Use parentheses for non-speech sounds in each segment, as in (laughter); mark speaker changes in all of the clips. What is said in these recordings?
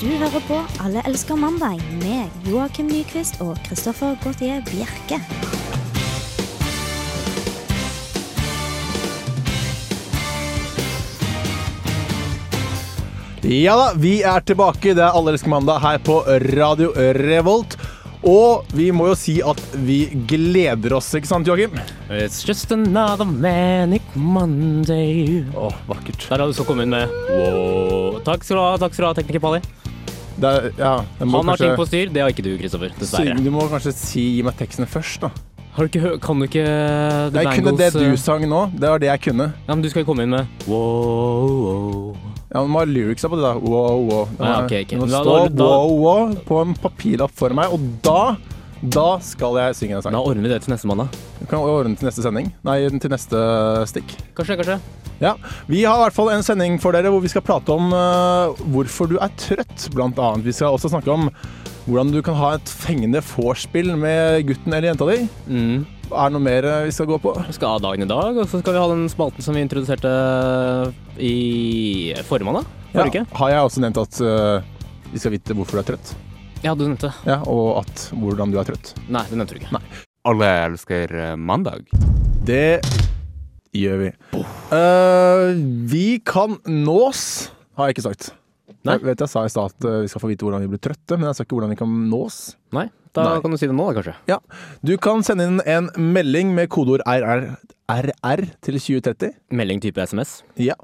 Speaker 1: Du hører på Alle elsker mandag med Joakim Nyquist og Christoffer Gautier Bjerke.
Speaker 2: Ja da, vi er tilbake. Det er Allerske mandag her på Radio Revolt. Og vi må jo si at vi gleder oss, ikke sant, Joakim?
Speaker 3: It's just another manic Monday.
Speaker 2: Å, vakkert.
Speaker 3: Der har du så kommet inn med wow. Takk skal du ha, takk skal du ha, tekniker Palli.
Speaker 2: Det er, ja, jeg må
Speaker 3: Han har ting
Speaker 2: kanskje-
Speaker 3: på styr, det har ikke du, Kristoffer. Dessverre.
Speaker 2: Syng- Du må kanskje si, gi meg teksten først, da.
Speaker 3: Har du ikke hørt Kan du ikke The
Speaker 2: Jeg kunne
Speaker 3: Bangles
Speaker 2: det du
Speaker 3: eh,
Speaker 2: sang nå. Det var det jeg kunne.
Speaker 3: Ja, men du skal jo komme inn med wow, wow.
Speaker 2: Ja, Man må ha lyricsa på det, da. Wow, wow. Det
Speaker 3: Ah,
Speaker 2: må-
Speaker 3: ok, ok.
Speaker 2: Det må
Speaker 3: Da-
Speaker 2: stå
Speaker 3: da-
Speaker 2: wow, wow på en papirlapp for meg, og da da skal jeg synge en sang.
Speaker 3: Da ordner vi det til neste mandag.
Speaker 2: Du kan ordne til neste sending. Nei, til neste stikk.
Speaker 3: Kanskje, kanskje.
Speaker 2: Ja, Vi har i hvert fall en sending for dere hvor vi skal prate om eh, hvorfor du er trøtt, blant annet. Vi skal også snakke om hvordan du kan ha et fengende vorspiel med gutten eller jenta di.
Speaker 3: Mm.
Speaker 2: Er det noe mer eh, vi skal gå på?
Speaker 3: Vi skal ha dagen i dag, og så skal vi ha den spalten som vi introduserte uh, i forrige mandag. Forrige uke.
Speaker 2: Har jeg også nevnt at eh, vi skal vite hvorfor du er trøtt?
Speaker 3: Ja, du nevnte det.
Speaker 2: Ja, Og at hvordan du er trøtt.
Speaker 3: Nei, det nevnte du ikke.
Speaker 4: Alle elsker eh, mandag.
Speaker 2: Det gjør vi. Eh, vi kan nås, har jeg ikke sagt.
Speaker 3: Nei.
Speaker 2: Jeg vet jeg sa i stad at eh, vi skal få vite hvordan vi blir trøtte, men jeg sa ikke hvordan vi kan nås.
Speaker 3: Nei, da
Speaker 2: Nei.
Speaker 3: kan du si det nå, da, kanskje.
Speaker 2: Ja, Du kan sende inn en melding med kodeord RR, RR til 2030.
Speaker 3: Melding type SMS.
Speaker 2: Ja.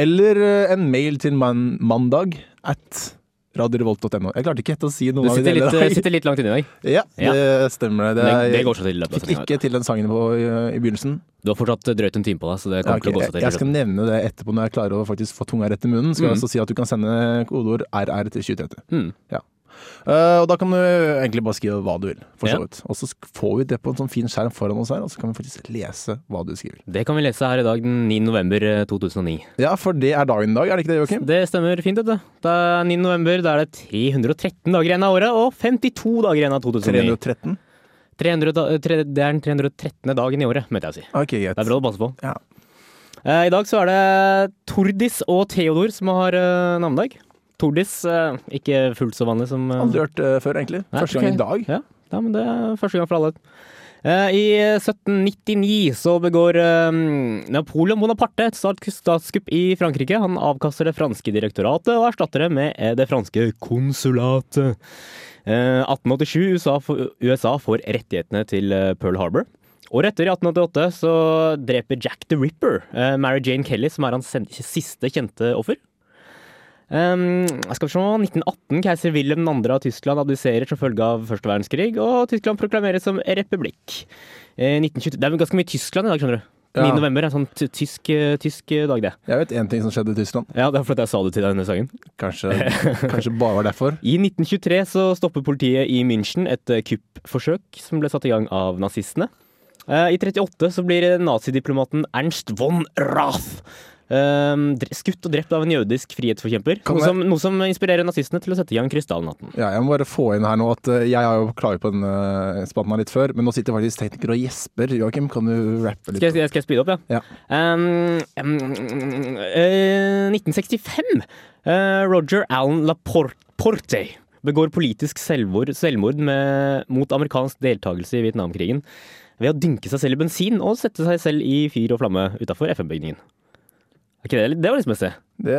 Speaker 2: Eller eh, en mail til man, mandag at radiorevolt.no. Jeg klarte ikke helt å si
Speaker 3: Du
Speaker 2: noe av det
Speaker 3: sitter
Speaker 2: hele
Speaker 3: litt,
Speaker 2: dag.
Speaker 3: sitter litt langt inne i dag.
Speaker 2: Ja, det stemmer. Det,
Speaker 3: Det,
Speaker 2: det,
Speaker 3: det går seg til i løpet av
Speaker 2: Fikk
Speaker 3: sendinga.
Speaker 2: ikke til den sangen på, eh, i begynnelsen.
Speaker 3: Du har fortsatt drøyt en time på deg, så det
Speaker 2: Ja,
Speaker 3: kommer
Speaker 2: ok.
Speaker 3: til å gå
Speaker 2: jeg,
Speaker 3: seg til.
Speaker 2: jeg skal nevne det etterpå når jeg klarer å faktisk få tunga rett i munnen. Skal jeg
Speaker 3: Mm.
Speaker 2: også si at du kan sende kodeord RR til 2030.
Speaker 3: Mm.
Speaker 2: Eh, og da kan du egentlig bare skrive hva du vil, for så
Speaker 3: Ja.
Speaker 2: vidt. Og så sk- får vi det på en sånn fin skjerm foran oss her, og så kan vi faktisk lese hva du skriver.
Speaker 3: Det kan vi lese her i dag den 9. november eh, 2009.
Speaker 2: Ja, for det er dagen i dag, er det ikke det, Joakim?
Speaker 3: Det stemmer fint, vet du. Det er 9. november, da er det 313 dager igjen av året, og 52 dager igjen av 2009.
Speaker 2: 313?
Speaker 3: 300, da- eh, tre- det er den 313. dagen i året, mente jeg å si.
Speaker 2: Ok,
Speaker 3: Det er
Speaker 2: greit.
Speaker 3: bra å passe på.
Speaker 2: Ja.
Speaker 3: Eh, I dag så er det Tordis og Theodor som har eh, navnedag. Tordis, eh, ikke fullt så vanlig som eh,
Speaker 2: Aldri hørt eh, før, egentlig.
Speaker 3: Nei,
Speaker 2: Første gang i
Speaker 3: ok.
Speaker 2: dag.
Speaker 3: Ja, ja, men det er første gang for alle. Eh, I 1799 så begår eh, Napoleon Bonaparte et stats- statskupp i Frankrike. Han avkaster det franske direktoratet og erstatter det med eh, det franske konsulatet. Eh, 1887 USA, får- USA får rettighetene til eh, Pearl Harbor. Året etter, i 1888, så dreper Jack the Ripper eh, Mary Jane Kelly, som er hans sen- siste kjente offer. Um, skal vi se, 1918, keiser Wilhelm 2. av Tyskland abduserer som følge av første verdenskrig, og Tyskland proklameres som republikk. Eh, 1920, det er jo ganske mye Tyskland i dag, skjønner du. 9.
Speaker 2: Ja.
Speaker 3: november er en sånn ty- tysk, eh, tysk eh, dag, det.
Speaker 2: Jeg vet én ting som skjedde i Tyskland.
Speaker 3: Ja, det er fordi jeg sa det til deg denne sangen.
Speaker 2: Kanskje,
Speaker 3: (laughs)
Speaker 2: kanskje bare var derfor.
Speaker 3: I 1923 så stopper politiet i München et eh, kuppforsøk som ble satt i gang av nazistene. Eh, I 38 så blir nazidiplomaten Ernst von Rath eh, dre- skutt og drept av en jødisk frihetsforkjemper.
Speaker 2: Kan
Speaker 3: Noe
Speaker 2: jeg-
Speaker 3: som, noe som inspirerer nazistene til å sette i gang Krystallnatten.
Speaker 2: Ja, jeg må bare få inn her nå at eh, jeg har jo klaget på denne spalten her litt før, men nå sitter faktisk tekniker og gjesper. Joakim, kan du rappe
Speaker 3: Skal
Speaker 2: litt?
Speaker 3: jeg, skal jeg speede opp, ja?
Speaker 2: Ja.
Speaker 3: Um, um, eh, 1965. eh, Roger Allen Laporte begår politisk selvmord, selvmord med, mot amerikansk deltakelse i Vietnamkrigen ved å dynke seg selv i bensin og sette seg selv i fyr og flamme utafor FN-bygningen. Er ikke det, litt- det var litt messig.
Speaker 2: Det,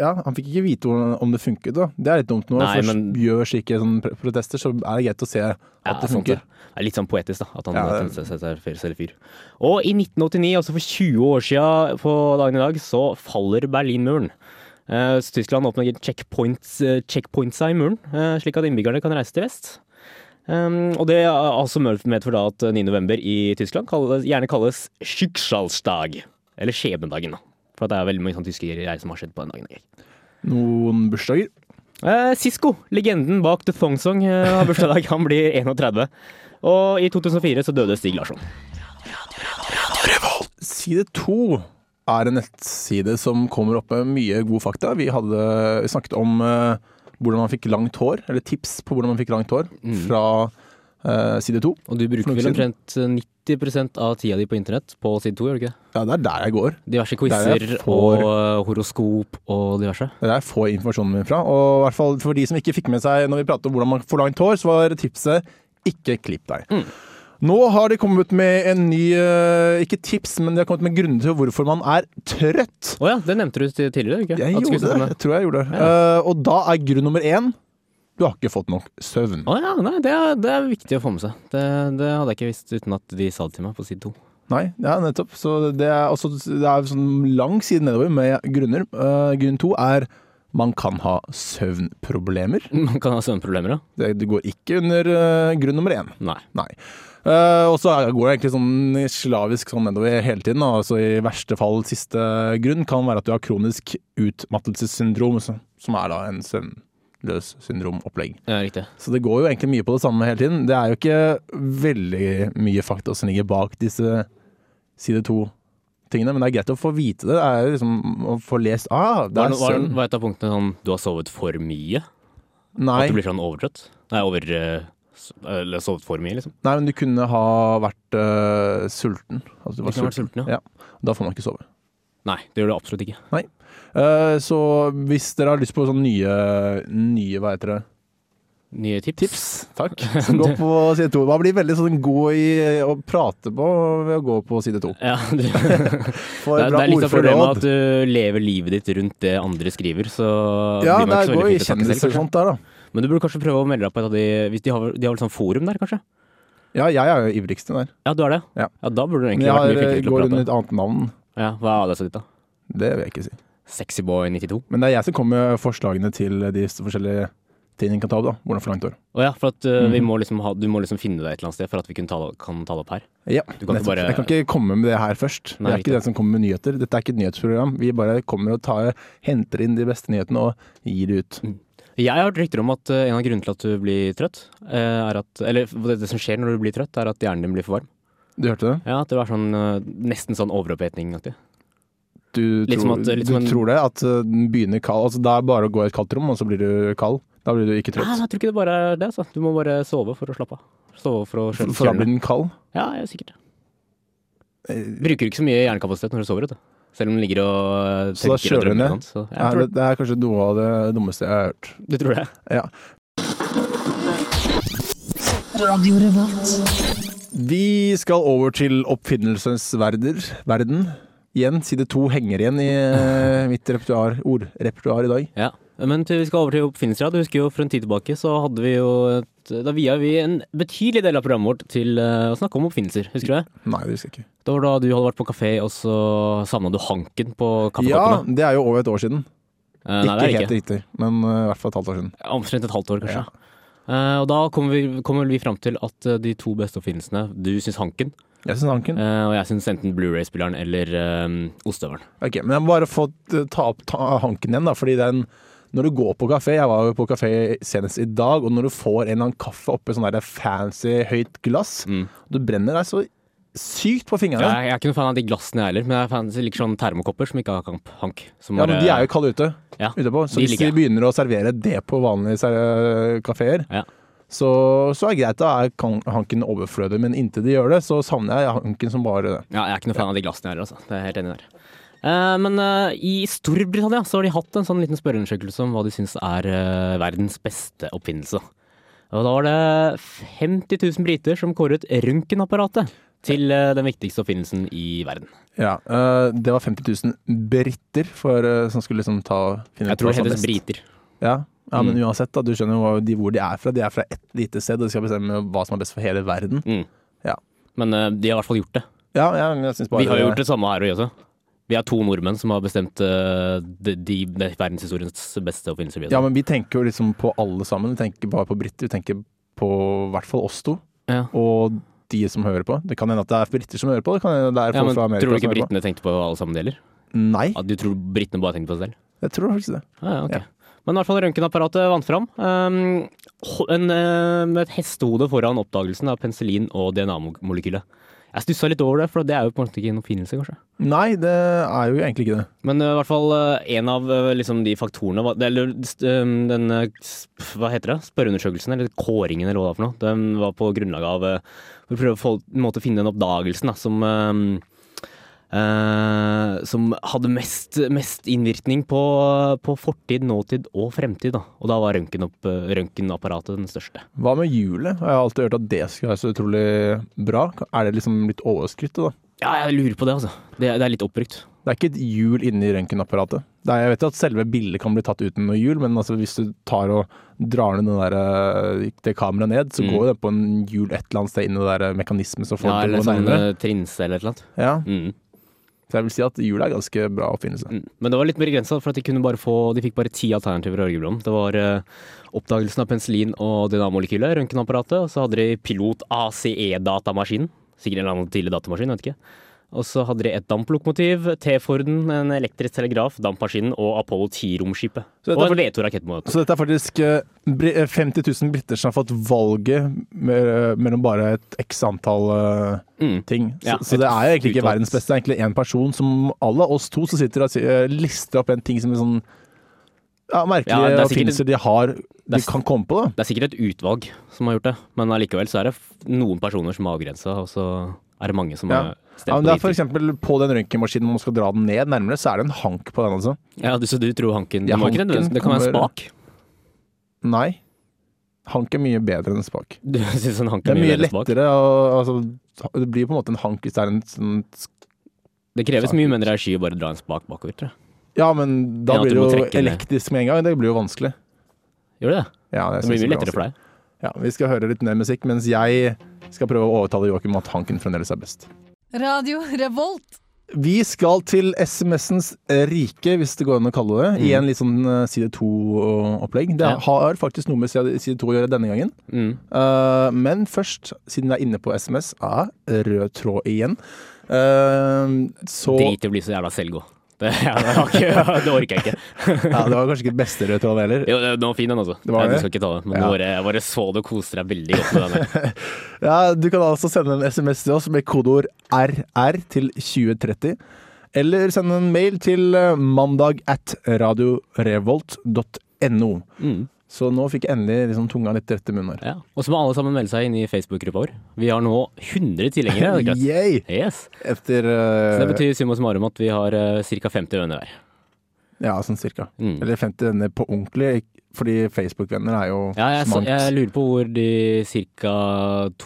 Speaker 2: ja, han fikk ikke vite hvordan- om det funket, da. Det er litt dumt når man
Speaker 3: Nei,
Speaker 2: først
Speaker 3: men-
Speaker 2: gjør slike sånne pre- protester, så er det greit å se at
Speaker 3: Ja,
Speaker 2: det
Speaker 3: sant
Speaker 2: funker.
Speaker 3: Det er litt sånn poetisk, da. At han
Speaker 2: Ja,
Speaker 3: ja,
Speaker 2: det-
Speaker 3: setter seg fyr- selv i fyr. Og i 1989, altså for 20 år siden på dagen i dag, så faller Berlinmuren. Eh, så Tyskland åpner checkpoints, eh, checkpointsa i muren, eh, slik at innbyggerne kan reise til vest. Um, og det er altså medfører da at 9. november i Tyskland kalles, gjerne kalles Schicksalsdag. Eller skjebnedagen, da. For at det er veldig mange sånne tyske greier som har skjedd på den dagen. i dag.
Speaker 2: Noen bursdager.
Speaker 3: Eh, Sisko, legenden bak The Thong Song, eh, har bursdag i dag. Han blir 31. Og i 2004 så døde Stig Larsson.
Speaker 2: Side to er en nettside som kommer opp med mye gode fakta. Vi hadde vi snakket om eh, hvordan man fikk langt hår, eller tips på hvordan man fikk langt hår fra eh, side to.
Speaker 3: Og du bruker vel
Speaker 2: Siden.
Speaker 3: omtrent 90 av tida di på internett på side to, gjør du ikke? det?
Speaker 2: Ja, det er der jeg går.
Speaker 3: Diverse
Speaker 2: Der
Speaker 3: quizer
Speaker 2: jeg får-
Speaker 3: og eh, horoskop og diverse.
Speaker 2: Det er der jeg får informasjonen min fra. Og i hvert fall for de som ikke fikk med seg når vi pratet om hvordan man får langt hår, så var tipset ikke klipp deg. Nå har de kommet med en ny eh, Ikke tips, men de har kommet med grunner til hvorfor man er trøtt.
Speaker 3: Å ja, det nevnte du ti- tidligere, ikke?
Speaker 2: Jeg
Speaker 3: At skulle
Speaker 2: gjorde det.
Speaker 3: sende-
Speaker 2: Jeg tror jeg gjorde det. Eh, og da er grunn nummer én du har ikke fått nok søvn.
Speaker 3: Å ja, nei, det er, det er viktig å få med seg. Det, det hadde jeg ikke visst uten at de sa det til meg på side to. (laughs)
Speaker 2: Nei, ja, nettopp. Så det er, også, det er sånn lang side nedover med grunner. Eh, grunn to er man kan ha søvnproblemer.
Speaker 3: Man kan ha søvnproblemer, ja?
Speaker 2: Det, det går ikke under eh, grunn nummer én.
Speaker 3: Nei.
Speaker 2: Nei. Eh, og så er- går det egentlig sånn slavisk sånn nedover hele tiden. da. Altså I verste fall siste grunn kan være at du har kronisk utmattelsessyndrom, så- som er da en søvnløs syndromopplegg.
Speaker 3: Ja, riktig.
Speaker 2: Så det går jo egentlig mye på det samme hele tiden. Det er jo ikke veldig mye fakta som ligger bak disse side to-tingene, men det er greit å få vite det. Det er jo liksom å få lest Ah, det
Speaker 3: Var,
Speaker 2: er
Speaker 3: det- var,
Speaker 2: søvn.
Speaker 3: var et av punktene sånn du har sovet for mye? At
Speaker 2: Nei,
Speaker 3: du blir sånn overtrøtt? Nei, over eh, s- Eller sovet for mye, liksom?
Speaker 2: nei, men du kunne ha vært eh, sulten. Altså, du
Speaker 3: Du
Speaker 2: var
Speaker 3: kan ha vært
Speaker 2: sulten.
Speaker 3: sulten, ja.
Speaker 2: Ja. Da får man ikke sove.
Speaker 3: Nei, det gjør du absolutt ikke.
Speaker 2: Eh, Så hvis dere har lyst på sånne nye, nye hva
Speaker 3: (laughs)
Speaker 2: heter det?
Speaker 3: Nye tips?
Speaker 2: Tips,
Speaker 3: (laughs)
Speaker 2: takk. Så gå på side to. Man blir veldig sånn god i å prate på ved å gå på side to. (laughs)
Speaker 3: Ja, du, det, er,
Speaker 2: Får
Speaker 3: det
Speaker 2: bra
Speaker 3: er litt av problemet at
Speaker 2: ordforråd.
Speaker 3: du lever livet ditt rundt det andre skriver, så
Speaker 2: Ja,
Speaker 3: blir man
Speaker 2: det
Speaker 3: ikke så veldig
Speaker 2: går i
Speaker 3: flink til å snakke selv,
Speaker 2: kjendiser og
Speaker 3: kanskje.
Speaker 2: sånt der, da.
Speaker 3: Men du burde kanskje prøve å melde deg på et av de hvis De har, vel- de har vel sånn forum der, kanskje?
Speaker 2: Ja, jeg er jo ivrigste der.
Speaker 3: Ja, du har det?
Speaker 2: Ja.
Speaker 3: da burde du
Speaker 2: Men
Speaker 3: egentlig
Speaker 2: jeg
Speaker 3: vært mye
Speaker 2: har,
Speaker 3: flinkere til å
Speaker 2: går
Speaker 3: prate.
Speaker 2: under et annet navn.
Speaker 3: Ja, hva er adressa ditt, da?
Speaker 2: Det vil jeg ikke si.
Speaker 3: Sexyboy92?
Speaker 2: Men det er jeg som kommer med forslagene til de forskjellige tingene vi kan ta opp. da. Hvordan få langt hår.
Speaker 3: Å ja, for at uh,
Speaker 2: Mhm.
Speaker 3: vi må liksom ha, du må liksom finne deg et eller annet sted for at vi kunne ta, kan ta det opp her.
Speaker 2: Ja,
Speaker 3: Du kan ikke
Speaker 2: nettopp.
Speaker 3: bare-
Speaker 2: Jeg kan ikke komme med det her først.
Speaker 3: Nei,
Speaker 2: det er ikke
Speaker 3: riktig.
Speaker 2: den som kommer med nyheter. Dette er ikke et nyhetsprogram. Vi bare kommer og tar, henter inn de beste nyhetene og gir det ut.
Speaker 3: Jeg har hørt rykter om at uh, en av grunnene til at du blir trøtt, uh, er at Eller det, det som skjer når du blir trøtt, er at hjernen din blir for varm.
Speaker 2: Du hørte det?
Speaker 3: Ja, At det er sånn uh, nesten sånn overopphetingaktig.
Speaker 2: Du,
Speaker 3: Litt som
Speaker 2: tror,
Speaker 3: at- litt
Speaker 2: du
Speaker 3: som en-
Speaker 2: tror det? At uh, den begynner kald? Altså, det er bare å gå i et kaldt rom, og så blir du kald? Da blir du ikke
Speaker 3: Nei,
Speaker 2: trøtt?
Speaker 3: Ah, jeg tror ikke det bare er det, altså. Du må bare sove for å slappe av. Sove for å
Speaker 2: For
Speaker 3: kjøle
Speaker 2: for da blir den kald?
Speaker 3: Ja, jeg er sikkert. Bruker ikke så mye hjernekapasitet når du sover, vet du. Selv om du ligger og uh,
Speaker 2: Så da
Speaker 3: tenker og
Speaker 2: kjøler du
Speaker 3: drømmer og
Speaker 2: ned?
Speaker 3: sånt, Så,
Speaker 2: Ja,
Speaker 3: jeg tror,
Speaker 2: det, det er kanskje noe av det dummeste jeg har hørt.
Speaker 3: du tror det?
Speaker 2: Ja. Vi skal over til oppfinnelsens verder, verden. Igjen, side to henger igjen i eh, mitt repertoar, ordrepertoar i dag.
Speaker 3: Ja, men til, vi skal over til oppfinnelser. ja. Du husker jo for en tid tilbake så hadde vi jo et, Da via vi en betydelig del av programmet vårt til eh, å snakke om oppfinnelser. Husker du det?
Speaker 2: Nei, det husker jeg ikke.
Speaker 3: Det var da du hadde vært på kafé, og så savna du hanken på
Speaker 2: Ja,
Speaker 3: kaffekoppene.
Speaker 2: det er jo over et år siden.
Speaker 3: Eh,
Speaker 2: Ikke
Speaker 3: nei, det er det
Speaker 2: helt
Speaker 3: ikke.
Speaker 2: riktig, men eh, i hvert fall et halvt år siden.
Speaker 3: Omtrent et halvt år, kanskje. Eh, og da kommer vi, kommer vi fram til at eh, de to beste oppfinnelsene Du syns hanken,
Speaker 2: Jeg syns Anken
Speaker 3: eh, og jeg syns enten Blu-ray-spilleren eller eh, ostehøvelen.
Speaker 2: Ok, men jeg må bare få eh, ta opp ta hanken igjen, da. Fordi den Når du går på kafé Jeg var jo på kafé senest i dag, og når du får en eller annen kaffe oppi sånn der fancy, høyt glass
Speaker 3: Mm.
Speaker 2: Du brenner deg så sykt på
Speaker 3: Jeg,
Speaker 2: fingrene. Ja,
Speaker 3: jeg er ikke noen fan av de glassene, jeg heller, men jeg er fan, jeg liker sånn termokopper som ikke har hank. hank som
Speaker 2: men
Speaker 3: bare-
Speaker 2: de er jo kalde ute.
Speaker 3: ja.
Speaker 2: ute på, så
Speaker 3: de
Speaker 2: hvis
Speaker 3: liker
Speaker 2: de begynner å servere det på vanlige ser- kaféer,
Speaker 3: Ja.
Speaker 2: så, så er det greit. Da er kan- hanken overflødig. Men inntil de gjør det, så savner jeg hanken som bare det.
Speaker 3: Ja, jeg er ikke noe fan av de glassene heller, altså. Det er jeg helt enig der. Eh, men eh, i Storbritannia så har de hatt en sånn liten spørreundersøkelse om hva de syns er eh, verdens beste oppfinnelse. Og da var det 50 000 briter som kåret røntgenapparatet til eh, den viktigste oppfinnelsen i verden.
Speaker 2: Ja, eh, Det var 50 000 briter for, eh, som skulle liksom ta finne
Speaker 3: Jeg tror
Speaker 2: hva
Speaker 3: det
Speaker 2: som er
Speaker 3: heter
Speaker 2: best.
Speaker 3: briter.
Speaker 2: Ja, ja men uansett, da, du skjønner jo hva- de, hvor de er fra. De er fra ett lite sted, og de skal bestemme hva som er best for hele verden.
Speaker 3: Mm.
Speaker 2: Ja.
Speaker 3: Men eh, de har i hvert fall gjort det.
Speaker 2: Ja, ja men jeg synes bare
Speaker 3: Vi har jo gjort det samme her også. Vi er to nordmenn som har bestemt eh, de, de, de verdenshistoriens beste oppfinnelser. vi har.
Speaker 2: Ja, men vi tenker jo liksom på alle sammen. Vi tenker bare på briter. Vi tenker på i hvert fall oss to,
Speaker 3: Ja.
Speaker 2: og de som hører på. Det kan hende at det er briter som hører på. Det kan hende det er
Speaker 3: Ja,
Speaker 2: folk
Speaker 3: men
Speaker 2: fra Amerika
Speaker 3: tror du ikke
Speaker 2: som hører på.
Speaker 3: britene tenkte på alle sammen deler?
Speaker 2: Nei,
Speaker 3: At du tror britene bare tenkte på seg selv?
Speaker 2: jeg tror faktisk det.
Speaker 3: Ja, ja, ok.
Speaker 2: Ja.
Speaker 3: Men i hvert fall røntgenapparatet vant fram. Um, ho- en, eh, med et hestehode foran oppdagelsen av penicillin og DNA-molekylet. Jeg stussa litt over det, for det er jo på en måte ikke en oppfinnelse, kanskje.
Speaker 2: Nei, det er jo egentlig ikke det.
Speaker 3: Men eh, i hvert fall eh, en av eh, liksom, de faktorene var, Eller st- eh, den eh, sp- Hva heter det? Spørreundersøkelsen, eller kåringen, eller hva det var for noe. Den var på grunnlag av eh, For å prøve å få, en måte, å finne den oppdagelsen da, som eh, eh, som hadde mest, mest innvirkning på, på fortid, nåtid og fremtid. Da. Og da var røntgen opp- eh, røntgenapparatet den største.
Speaker 2: Hva med hjulet? Jeg har alltid hørt at det skal være så utrolig bra. Er det liksom litt overskrytt, da?
Speaker 3: Ja, jeg lurer på det, altså. Det, det er litt oppbrukt.
Speaker 2: Det er ikke et hjul inni røntgenapparatet. Det er, jeg vet at selve bildet kan bli tatt uten noe hjul, men altså hvis du tar og drar ned den der, eh, det kameraet ned, så
Speaker 3: Mm.
Speaker 2: går jo det på en hjul et eller annet sted inn i det der mekanismen som får
Speaker 3: Ja,
Speaker 2: det
Speaker 3: eller
Speaker 2: til å gå
Speaker 3: sånn
Speaker 2: nærmere.
Speaker 3: eh, trinse eller et eller annet.
Speaker 2: Ja,
Speaker 3: Mm.
Speaker 2: så jeg vil si at hjulet er ganske bra oppfinnelse.
Speaker 3: Mm. Men det var litt begrensa, for at de, kunne bare få, de fikk bare ti alternativer å velge mellom. Det var eh, oppdagelsen av penicillin og dynamolekylet, røntgenapparatet. Og så hadde de pilot ACE-datamaskinen. Sikkert en eller annen tidlig datamaskin, jeg vet ikke. Og så hadde de et damplokomotiv, T-Forden, en elektrisk telegraf, dampmaskinen og Apollo 10-romskipet.
Speaker 2: Så dette
Speaker 3: Og
Speaker 2: er
Speaker 3: en V2-rakettmåte.
Speaker 2: Så dette er faktisk eh, bri- eh, 50 000 briter som har fått valget med, eh, mellom bare et x antall eh,
Speaker 3: Mm.
Speaker 2: ting. Så,
Speaker 3: Ja,
Speaker 2: så det er jo egentlig ikke
Speaker 3: utvalgt.
Speaker 2: verdens beste. Det er egentlig én person som alle oss to som sitter og sier- eh, lister opp en ting som er sånn ja,
Speaker 3: Ja,
Speaker 2: merkelige
Speaker 3: det er sikkert-
Speaker 2: oppfinnelser de har, de
Speaker 3: er-
Speaker 2: kan komme på. da.
Speaker 3: Det er sikkert et utvalg som har gjort det, men allikevel så er det f- noen personer som har avgrensa, og så er det mange som
Speaker 2: Ja.
Speaker 3: har stemt
Speaker 2: Ja, men
Speaker 3: på
Speaker 2: det
Speaker 3: de
Speaker 2: er for eksempel På den røntgenmaskinen når man skal dra den ned nærmere, så er det en hank på den. altså.
Speaker 3: ti. Ja, du, så du tror hanken
Speaker 2: Ja,
Speaker 3: Det, må ikke
Speaker 2: hanken
Speaker 3: nødvendigvis- det kan være en
Speaker 2: kommer-
Speaker 3: spak.
Speaker 2: Nei. Hank er mye bedre enn en spak.
Speaker 3: Du (laughs) syns en hank
Speaker 2: Det
Speaker 3: er
Speaker 2: er
Speaker 3: mye
Speaker 2: mye
Speaker 3: bedre smak?
Speaker 2: lettere. Og, altså, det blir på en måte en hank hvis det er en sånn
Speaker 3: Det kreves mye mindre energi å bare dra en spak bakover, tror jeg.
Speaker 2: Ja, men da
Speaker 3: Ja, at
Speaker 2: blir
Speaker 3: du må
Speaker 2: det jo
Speaker 3: trekke ned.
Speaker 2: elektrisk med en gang. Det blir jo vanskelig.
Speaker 3: Gjør det det?
Speaker 2: Ja, jeg
Speaker 3: Det blir
Speaker 2: synes
Speaker 3: mye lettere for deg.
Speaker 2: vanskelig. Ja, Vi skal høre litt mer musikk, mens jeg skal prøve å overtale Joakim om at Hanken fremdeles er best.
Speaker 5: Radio Revolt.
Speaker 2: Vi skal til SMS-ens rike, hvis det går an å kalle det. I en litt sånn eh, side to-opplegg. Det
Speaker 3: Mm. Ja.
Speaker 2: har faktisk noe med side side to å gjøre denne gangen.
Speaker 3: Mm.
Speaker 2: Eh, men først, siden vi er inne på SMS, er rød tråd igjen. Eh, så
Speaker 3: Drit i å bli så jævla selvgod. (laughs) Det, ja, det, har ikke, det orker jeg ikke.
Speaker 2: ja, Det var kanskje ikke beste rød tråden heller.
Speaker 3: Jo, det- den var fin, den altså.
Speaker 2: Det var
Speaker 3: Nei,
Speaker 2: det.
Speaker 3: Du skal ikke ta det. Men
Speaker 2: Ja.
Speaker 3: jeg, bare, jeg bare så du koste deg veldig godt med den.
Speaker 2: (laughs)
Speaker 3: der.
Speaker 2: Ja, du kan altså sende en SMS til oss med kodeord RR til 2030. Eller sende en mail til eh, mandag at radiorevolt.no.
Speaker 3: Mm.
Speaker 2: Så nå fikk jeg endelig liksom tunga litt rett i munnen her.
Speaker 3: Ja. Og så må alle sammen melde seg inn i Facebook-gruppa vår. Vi har nå 100 tilhengere. er
Speaker 2: (laughs)
Speaker 3: det ikke sant?
Speaker 2: Yay!
Speaker 3: Yes.
Speaker 2: Etter
Speaker 3: Så det
Speaker 2: eh,
Speaker 3: betyr summa summarum at vi har ca. 50 venner hver.
Speaker 2: Ja, sånn cirka.
Speaker 3: Mm.
Speaker 2: Eller 50 venner på ordentlig, fordi Facebook-venner er jo
Speaker 3: Ja, jeg, så,
Speaker 2: smangt.
Speaker 3: jeg lurer på hvor de ca.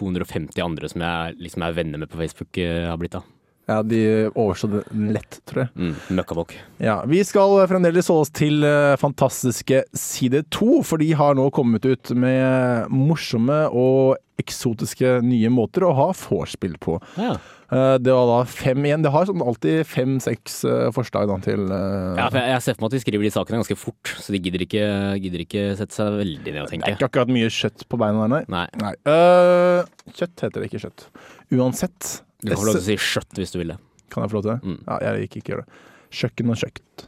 Speaker 3: 250 andre som jeg liksom er venner med på Facebook, eh, har blitt av.
Speaker 2: Ja, de overstod den lett, tror jeg.
Speaker 3: Mm. Møkkafolk.
Speaker 2: Ja, Vi skal fremdeles holde oss til eh, fantastiske Side 2, for de har nå kommet ut med morsomme og eksotiske nye måter å ha vorspiel på.
Speaker 3: Ja.
Speaker 2: Eh, Det var da fem igjen. Det har sånn alltid fem-seks eh, forslag da, til eh,
Speaker 3: Ja, for jeg, jeg ser for meg at de skriver de sakene ganske fort, så de gidder ikke, gidder ikke sette seg veldig ned
Speaker 2: Det
Speaker 3: og
Speaker 2: er
Speaker 3: tenke.
Speaker 2: ikke akkurat mye kjøtt på beina der, nei.
Speaker 3: Nei.
Speaker 2: nei. Eh, kjøtt heter det, ikke kjøtt. Uansett.
Speaker 3: Du kan få lov til å si skjøtt hvis du vil det.
Speaker 2: Kan jeg få lov til det?
Speaker 3: Mm.
Speaker 2: Ja, jeg gikk ikke gjøre det. Kjøkken og kjøkken.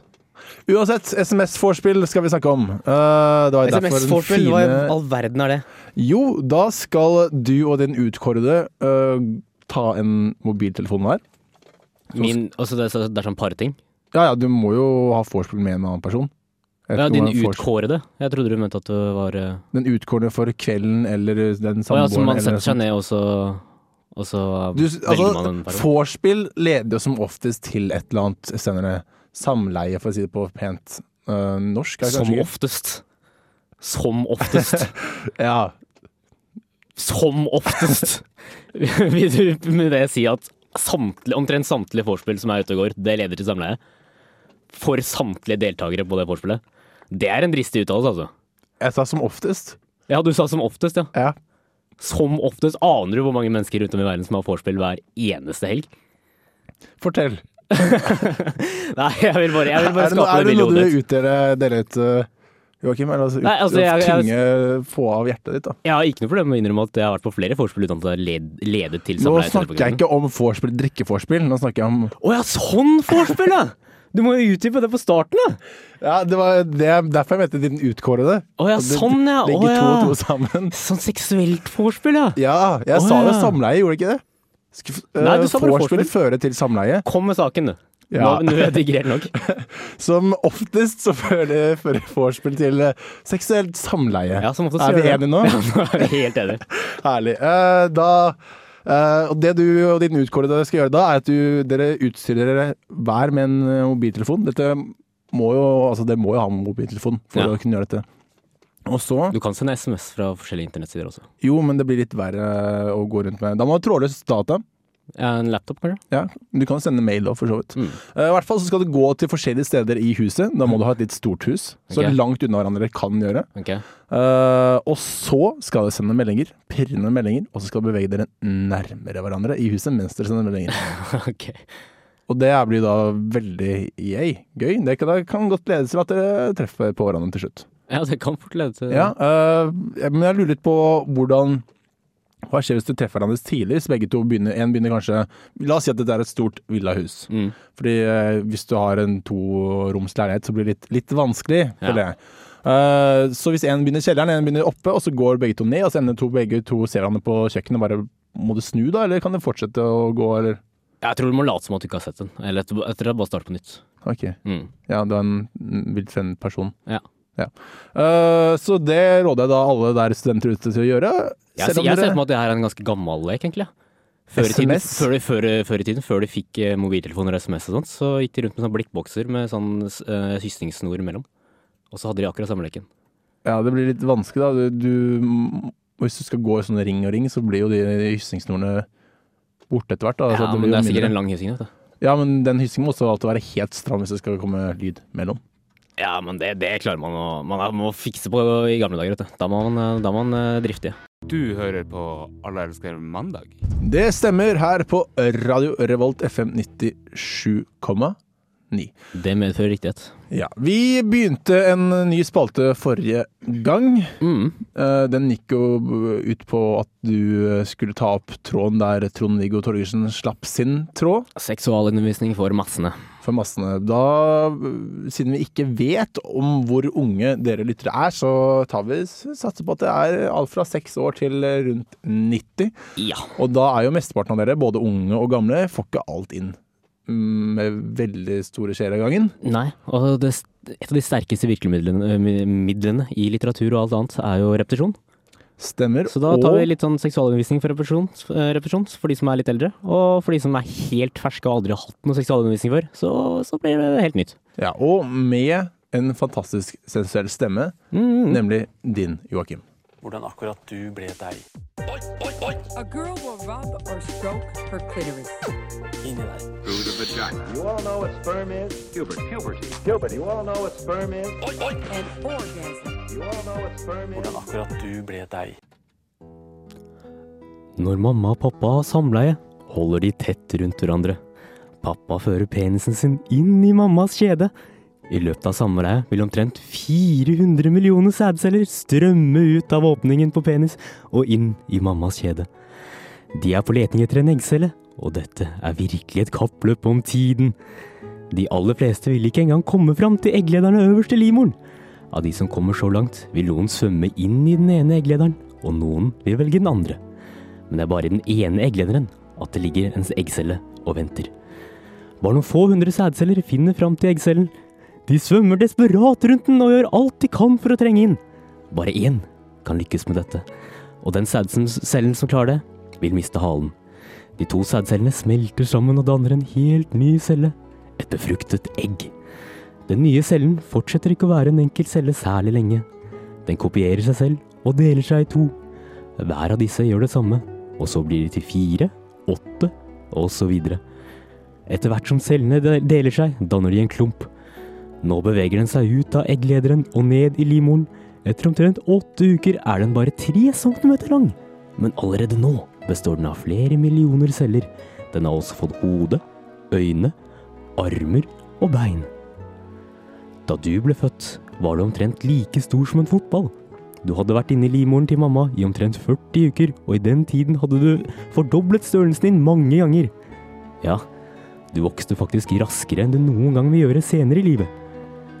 Speaker 2: Uansett, SMS-vorspiel skal vi snakke om. Eh, det var derfor den fine-
Speaker 3: verden er det?
Speaker 2: Jo, da skal du og din utkårede øh, ta en mobiltelefon hver.
Speaker 3: Min, altså det, er så- det er sånn parting.
Speaker 2: Ja, ja, du må jo ha vorspiel med en annen person. Jeg vet
Speaker 3: Ja,
Speaker 2: ikke
Speaker 3: din
Speaker 2: hvordan vorspiel-
Speaker 3: utkårede. Jeg trodde du mente at du var eh,
Speaker 2: Den utkårede for kvelden eller den
Speaker 3: Å ja,
Speaker 2: samboeren.
Speaker 3: så man
Speaker 2: eller
Speaker 3: setter seg
Speaker 2: sånt.
Speaker 3: ned, og så, og så
Speaker 2: du,
Speaker 3: velger man en
Speaker 2: altså,
Speaker 3: person.
Speaker 2: Vorspiel leder jo som oftest til et eller annet senere samleie, for å si det på pent øh, norsk. er det
Speaker 3: Som
Speaker 2: kanskje ikke?
Speaker 3: oftest. Som oftest.
Speaker 2: Ja.
Speaker 3: Som oftest. (laughs) Vil du med det si at samtlige, omtrent samtlige vorspiel som er ute og går, det leder til samleie? For samtlige deltakere på det vorspielet? Det er en dristig uttalelse, altså.
Speaker 2: Jeg sa som oftest.
Speaker 3: Ja, du sa som oftest, ja.
Speaker 2: Ja.
Speaker 3: Som oftest. Aner du hvor mange mennesker rundt om i verden som har vorspiel hver eneste helg? (laughs)
Speaker 2: Fortell.
Speaker 3: Nei, jeg vil bare, jeg vil bare
Speaker 2: er det, no-
Speaker 3: skape
Speaker 2: er
Speaker 3: det
Speaker 2: det noe
Speaker 3: bildet i
Speaker 2: du
Speaker 3: hodet
Speaker 2: vil
Speaker 3: ditt.
Speaker 2: utdele, dele ut, øh, Joakim? Er det altså, ut,
Speaker 3: Nei, altså, jeg- jeg-
Speaker 2: tynge få av hjertet ditt, da?
Speaker 3: Jeg har ikke noe problem med å innrømme at jeg har vært på flere vorspiel uten at det har led, ledet til
Speaker 2: Nå
Speaker 3: samleie.
Speaker 2: snakker jeg ikke om vorspiel, drikkevorspiel. Nå snakker jeg om
Speaker 3: Å ja, sånn vorspiel, ja! Du må jo utdype det på starten, da!
Speaker 2: Ja, det var det, derfor jeg mente din utkårede.
Speaker 3: Å ja,
Speaker 2: Og det-
Speaker 3: sånn, ja.
Speaker 2: Legge to
Speaker 3: Å,
Speaker 2: og
Speaker 3: ja.
Speaker 2: to sammen.
Speaker 3: Sånn seksuelt vorspiel, ja.
Speaker 2: Ja, jeg
Speaker 3: Å,
Speaker 2: sa jo
Speaker 3: ja.
Speaker 2: samleie, gjorde jeg ikke det? Sk-
Speaker 3: Nei,
Speaker 2: eh,
Speaker 3: du sa bare
Speaker 2: Vorspiel
Speaker 3: vorspiel.
Speaker 2: føre til samleie.
Speaker 3: Kom med saken, du.
Speaker 2: Ja.
Speaker 3: Nå, nå er jeg digrert nok.
Speaker 2: Som oftest så fører fører vorspiel til eh, seksuelt samleie.
Speaker 3: (laughs) Ja, som oftest
Speaker 2: er vi
Speaker 3: gjør det.
Speaker 2: enige nå?
Speaker 3: Nå er vi Helt enig.
Speaker 2: Herlig. Eh, da eh, og Det du og din utkårede skal gjøre da, er at du, dere utstyrer dere hver med en eh, mobiltelefon. Dette må jo, altså dere må jo ha en mobiltelefon for
Speaker 3: Ja.
Speaker 2: å kunne gjøre dette. Og så
Speaker 3: Du kan sende SMS fra forskjellige internettsider også.
Speaker 2: Jo, men det blir litt verre eh, å gå rundt med. Da må du ha trådløs data.
Speaker 3: En laptop, kanskje?
Speaker 2: Ja, Du kan sende mail òg, for så vidt.
Speaker 3: Mm.
Speaker 2: Eh, I hvert fall så skal du gå til forskjellige steder i huset. Da må du ha et litt stort hus. Så
Speaker 3: Ok.
Speaker 2: langt unna hverandre kan gjøre.
Speaker 3: Ok.
Speaker 2: Eh, og så skal dere sende meldinger, pirrende meldinger, og så skal dere bevege dere nærmere hverandre i huset mens dere sender meldinger.
Speaker 3: (laughs) Ok.
Speaker 2: Og det blir da veldig yay, gøy. Det kan, det kan godt lede til at dere treffer på hverandre til slutt.
Speaker 3: Ja, det kan fort lede til
Speaker 2: Ja, øh, men jeg lurer litt på hvordan Hva skjer hvis du treffer hverandre tidlig? Hvis begge to begynner, en begynner kanskje La oss si at dette er et stort villahus.
Speaker 3: Mm.
Speaker 2: Fordi øh, hvis du har en toromsleilighet, så blir det litt, litt vanskelig.
Speaker 3: Ja.
Speaker 2: føler jeg. Øh, så hvis en begynner i kjelleren, en begynner oppe, og så går begge to ned, og så ender to, begge to ser hverandre på kjøkkenet og bare Må du snu, da, eller kan det fortsette å gå, eller
Speaker 3: Jeg tror du må late som at du ikke har sett den. Eller etter, etter det bare starte på nytt.
Speaker 2: OK.
Speaker 3: Mm.
Speaker 2: Ja, du er en viltfremmed person.
Speaker 3: Ja.
Speaker 2: Ja. Eh, så det råder jeg da alle der studenter ute til å gjøre.
Speaker 3: Jeg,
Speaker 2: Selv om
Speaker 3: jeg ser
Speaker 2: dere-
Speaker 3: for meg at det her er en ganske gammel lek, egentlig. ja. Før i, tiden,
Speaker 2: SMS?
Speaker 3: før, før, før i tiden, før de fikk eh, mobiltelefoner og SMS og sånt, så gikk de rundt med sånne blikkbokser med sånn uh, systingsnor imellom. Og så hadde de akkurat samme leken.
Speaker 2: Ja, det blir litt vanskelig, da. Du, du, hvis du skal gå i sånne ring og ring, så blir jo de hyssingsnorene borte etter hvert. Da. så
Speaker 3: ja,
Speaker 2: det
Speaker 3: men
Speaker 2: blir
Speaker 3: det
Speaker 2: jo
Speaker 3: er sikkert
Speaker 2: mindre.
Speaker 3: en lang hyssing, vet du.
Speaker 2: ja, men den hyssingen må også alltid være helt stram hvis det skal komme lyd mellom.
Speaker 3: Ja, men det, det klarer man å Man er- må fikse på i gamle dager, vet du. Da må man, eh, da må man eh, drifte.
Speaker 4: Du hører på Alle elsker mandag.
Speaker 2: Det stemmer her på Radio Revolt FM 97,9.
Speaker 3: Det medfører riktighet.
Speaker 2: Ja, Vi begynte en ny spalte forrige gang.
Speaker 3: Mm.
Speaker 2: Eh, Den gikk jo ut på at du skulle ta opp tråden der Trond-Viggo Torgersen slapp sin tråd.
Speaker 3: Seksualundervisning for massene.
Speaker 2: for massene. Da, siden vi ikke vet om hvor unge dere lyttere er, så tar vi satser på at det er alt fra seks år til rundt 90.
Speaker 3: Ja.
Speaker 2: Og da er jo mesteparten av dere, både unge og gamle, får ikke alt inn mm, med veldig store skjeer av gangen.
Speaker 3: Nei, og det, et av de sterkeste virkemidlene eh, midlene i litteratur og alt annet er jo repetisjon.
Speaker 2: Stemmer.
Speaker 3: Så da tar
Speaker 2: og
Speaker 3: vi litt sånn seksualundervisning for repetisjon, eh, repetisjon for de som er litt eldre. Og for de som er helt ferske og aldri har hatt noe seksualundervisning før, så, så blir det helt nytt.
Speaker 2: Ja, og med en fantastisk sensuell stemme,
Speaker 3: Mm.
Speaker 2: nemlig din, Joakim.
Speaker 6: hvordan akkurat du ble deg.
Speaker 5: A girl will rub or stroke her clitoris.
Speaker 6: Inni deg.
Speaker 5: An orgasm.
Speaker 6: Hvordan akkurat du ble deg.
Speaker 3: Når mamma og pappa har samleie, holder de tett rundt hverandre. Pappa fører penisen sin inn i mammas kjede. I løpet av samleiet vil omtrent 400 millioner sædceller strømme ut av åpningen på penis og inn i mammas kjede. De er på leting etter en eggcelle, og dette er virkelig et kappløp om tiden. De aller fleste vil ikke engang komme fram til egglederne øverst i livmoren. Av de som kommer så langt, vil noen svømme inn i den ene egglederen, og noen vil velge den andre men det er bare i den ene egglederen at det ligger en eggcelle og venter. Bare noen få hundre sædceller finner fram til eggcellen. De svømmer desperat rundt den og gjør alt de kan for å trenge inn. Bare én kan lykkes med dette, og den sædcellen cellen som klarer det, vil miste halen. De to sædcellene smelter sammen og danner en helt ny celle, et befruktet egg. Den nye cellen fortsetter ikke å være en enkel celle særlig lenge. Den kopierer seg selv og deler seg i to. Hver av disse gjør det samme, og så blir de til fire, åtte og så videre. Etter hvert som cellene de- deler seg, danner de en klump. Nå beveger den seg ut av egglederen og ned i livmoren. Etter omtrent åtte uker er den bare tre centimeter lang. Men allerede nå består den av flere millioner celler. Den har også fått hode, øyne, armer og bein. Da du ble født, var du omtrent like stor som en fotball. Du hadde vært inne i livmoren til mamma i omtrent 40 uker, og i den tiden hadde du fordoblet størrelsen din mange ganger. Ja, du vokste faktisk raskere enn du noen gang vil gjøre senere i livet.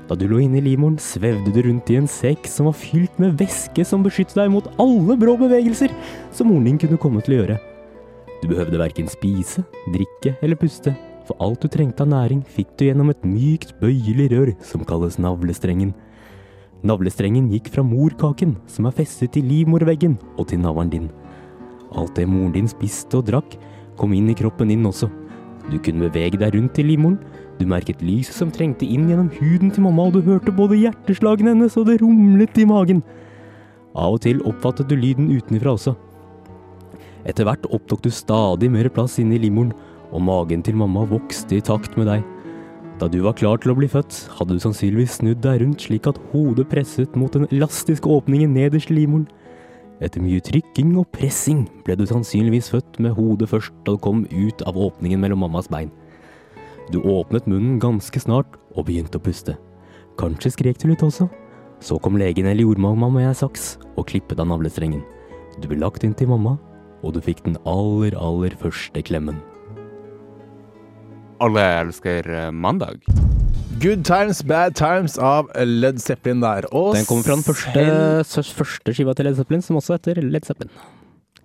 Speaker 3: Da du lå inne i livmoren, svevde du rundt i en sekk som var fylt med væske som beskyttet deg mot alle brå bevegelser som moren din kunne komme til å gjøre. Du behøvde verken spise, drikke eller puste, for alt du trengte av næring fikk du gjennom et mykt, bøyelig rør som kalles navlestrengen. Navlestrengen gikk fra morkaken, som er festet til livmorveggen, og til navlen din. Alt det moren din spiste og drakk, kom inn i kroppen din også. Du kunne bevege deg rundt til livmoren, du merket lyset som trengte inn gjennom huden til mamma, og du hørte både hjerteslagene hennes og det rumlet i magen. Av og til oppfattet du lyden utenfra også. Etter hvert opptok du stadig mer plass inne i livmoren, og magen til mamma vokste i takt med deg. Da du var klar til å bli født, hadde du sannsynligvis snudd deg rundt slik at hodet presset mot den elastiske åpningen nederst i livmoren. Etter mye trykking og pressing ble du sannsynligvis født med hodet først da du kom ut av åpningen mellom mammas bein. Du åpnet munnen ganske snart og begynte å puste. Kanskje skrek du litt også? Så kom legen eller jordmamma med en saks og klippet av navlestrengen. Du ble lagt inn til mamma, og du fikk den aller, aller første klemmen.
Speaker 4: Alle elsker eh, mandag.
Speaker 2: Good Times, Bad Times av Led Zeppelin der. Og
Speaker 3: Den kommer fra den første, søs- første skiva til Led Zeppelin, som også heter Led Zeppelin.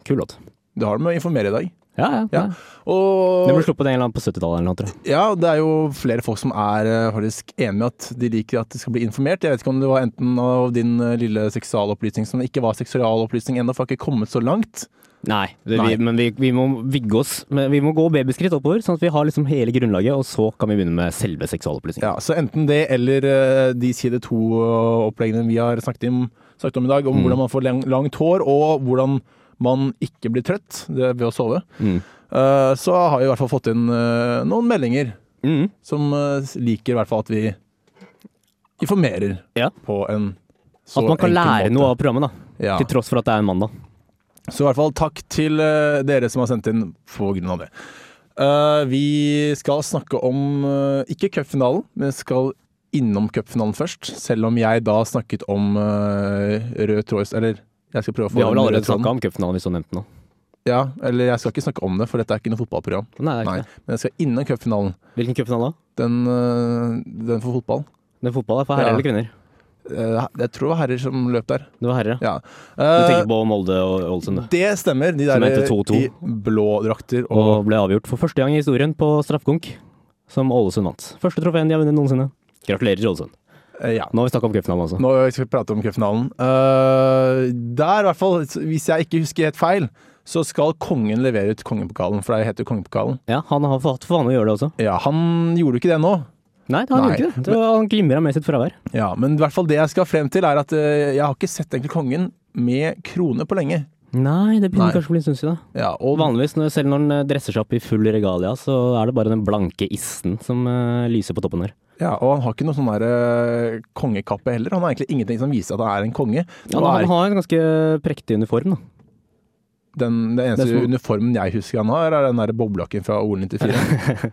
Speaker 3: Kul låt.
Speaker 2: Det har de med å informere i dag.
Speaker 3: Ja, ja.
Speaker 2: Ja.
Speaker 3: ja. Den ble
Speaker 2: Og
Speaker 3: sluppet en eller annen på 70-tallet eller noe, tror jeg.
Speaker 2: ja, det er jo flere folk som er eh, faktisk enige med at de liker at de skal bli informert. Jeg vet ikke om det var enten av din eh, lille seksualopplysning som ikke var seksualopplysning ennå, for jeg har ikke kommet så langt.
Speaker 3: Nei, det,
Speaker 2: Nei.
Speaker 3: Vi, men vi, vi må vigge oss. Men vi må gå babyskritt oppover, sånn at vi har liksom hele grunnlaget, og så kan vi begynne med selve seksualopplysningen.
Speaker 2: Ja, så enten det eller eh, de side to-oppleggene vi har snakket om, snakket om i dag, om
Speaker 3: Mm.
Speaker 2: hvordan man får lang, langt hår, og hvordan man ikke blir trøtt det er ved å sove,
Speaker 3: Mm.
Speaker 2: Eh, så har vi i hvert fall fått inn eh, noen meldinger
Speaker 3: Mm.
Speaker 2: som eh, liker i hvert fall at vi informerer
Speaker 3: Ja.
Speaker 2: på en så
Speaker 3: At man kan
Speaker 2: enkel
Speaker 3: lære
Speaker 2: måte.
Speaker 3: noe av programmet, da.
Speaker 2: ja.
Speaker 3: Til tross for at det er en mandag.
Speaker 2: Så i hvert fall takk til eh, dere som har sendt inn på grunn av det. Eh, vi skal snakke om eh, ikke cupfinalen, men skal innom cupfinalen først. Selv om jeg da snakket om eh, rød tråd Eller jeg skal prøve å få
Speaker 3: Vi har vel
Speaker 2: den røde
Speaker 3: allerede
Speaker 2: tråden.
Speaker 3: snakka om cupfinalen, hvis du nevnte den nå.
Speaker 2: Ja, eller jeg skal ikke snakke om det, for dette er ikke noe fotballprogram.
Speaker 3: Nei, det er
Speaker 2: Nei,
Speaker 3: ikke det.
Speaker 2: Men jeg skal innom cupfinalen.
Speaker 3: Hvilken cupfinale da?
Speaker 2: Den, eh, den for fotball.
Speaker 3: Det er fotball, det er for herrer
Speaker 2: Ja.
Speaker 3: eller kvinner?
Speaker 2: Eh, jeg tror det var herrer som løp der.
Speaker 3: Det var herrer, ja.
Speaker 2: Ja.
Speaker 3: Du
Speaker 2: Eh,
Speaker 3: tenker på Molde og Ålesund, du.
Speaker 2: det stemmer. De
Speaker 3: Som
Speaker 2: der
Speaker 3: heter 2-2.
Speaker 2: i blå drakter og
Speaker 3: Og ble avgjort for første gang i historien på straffekonk, som Ålesund vant. Første trofeen de har vunnet noensinne. Gratulerer, Ålesund.
Speaker 2: eh, Ja.
Speaker 3: Nå har vi snakka om cupfinalen, altså.
Speaker 2: Nå skal vi prate om cupfinalen. Uh, der, i hvert fall, hvis jeg ikke husker helt feil, så skal kongen levere ut kongepokalen, for det heter jo kongepokalen.
Speaker 3: Ja, han har hatt for vane å gjøre det også.
Speaker 2: Ja, han gjorde jo ikke det nå.
Speaker 3: Nei, han
Speaker 2: Nei.
Speaker 3: gjorde ikke det. det. var- Han glimra med sitt fravær.
Speaker 2: Ja, men i hvert fall det jeg skal frem til, er at eh, jeg har ikke sett egentlig kongen med krone på lenge.
Speaker 3: Nei,
Speaker 2: Nei.
Speaker 3: det begynner kanskje å bli en stund siden.
Speaker 2: Ja,
Speaker 3: Og
Speaker 2: og
Speaker 3: vanligvis, når, selv når han eh, dresser seg opp i full regalia, så er det bare den blanke issen som eh, lyser på toppen her.
Speaker 2: Ja, og han har ikke noe sånn der eh, kongekappe heller. Han har egentlig ingenting som viser at han er en konge.
Speaker 3: Ja,
Speaker 2: Nå
Speaker 3: han
Speaker 2: er
Speaker 3: har en ganske prektig uniform, da.
Speaker 2: den, den eneste
Speaker 3: Det er som-
Speaker 2: uniformen jeg husker han har, er den der boblejakken fra OL 94.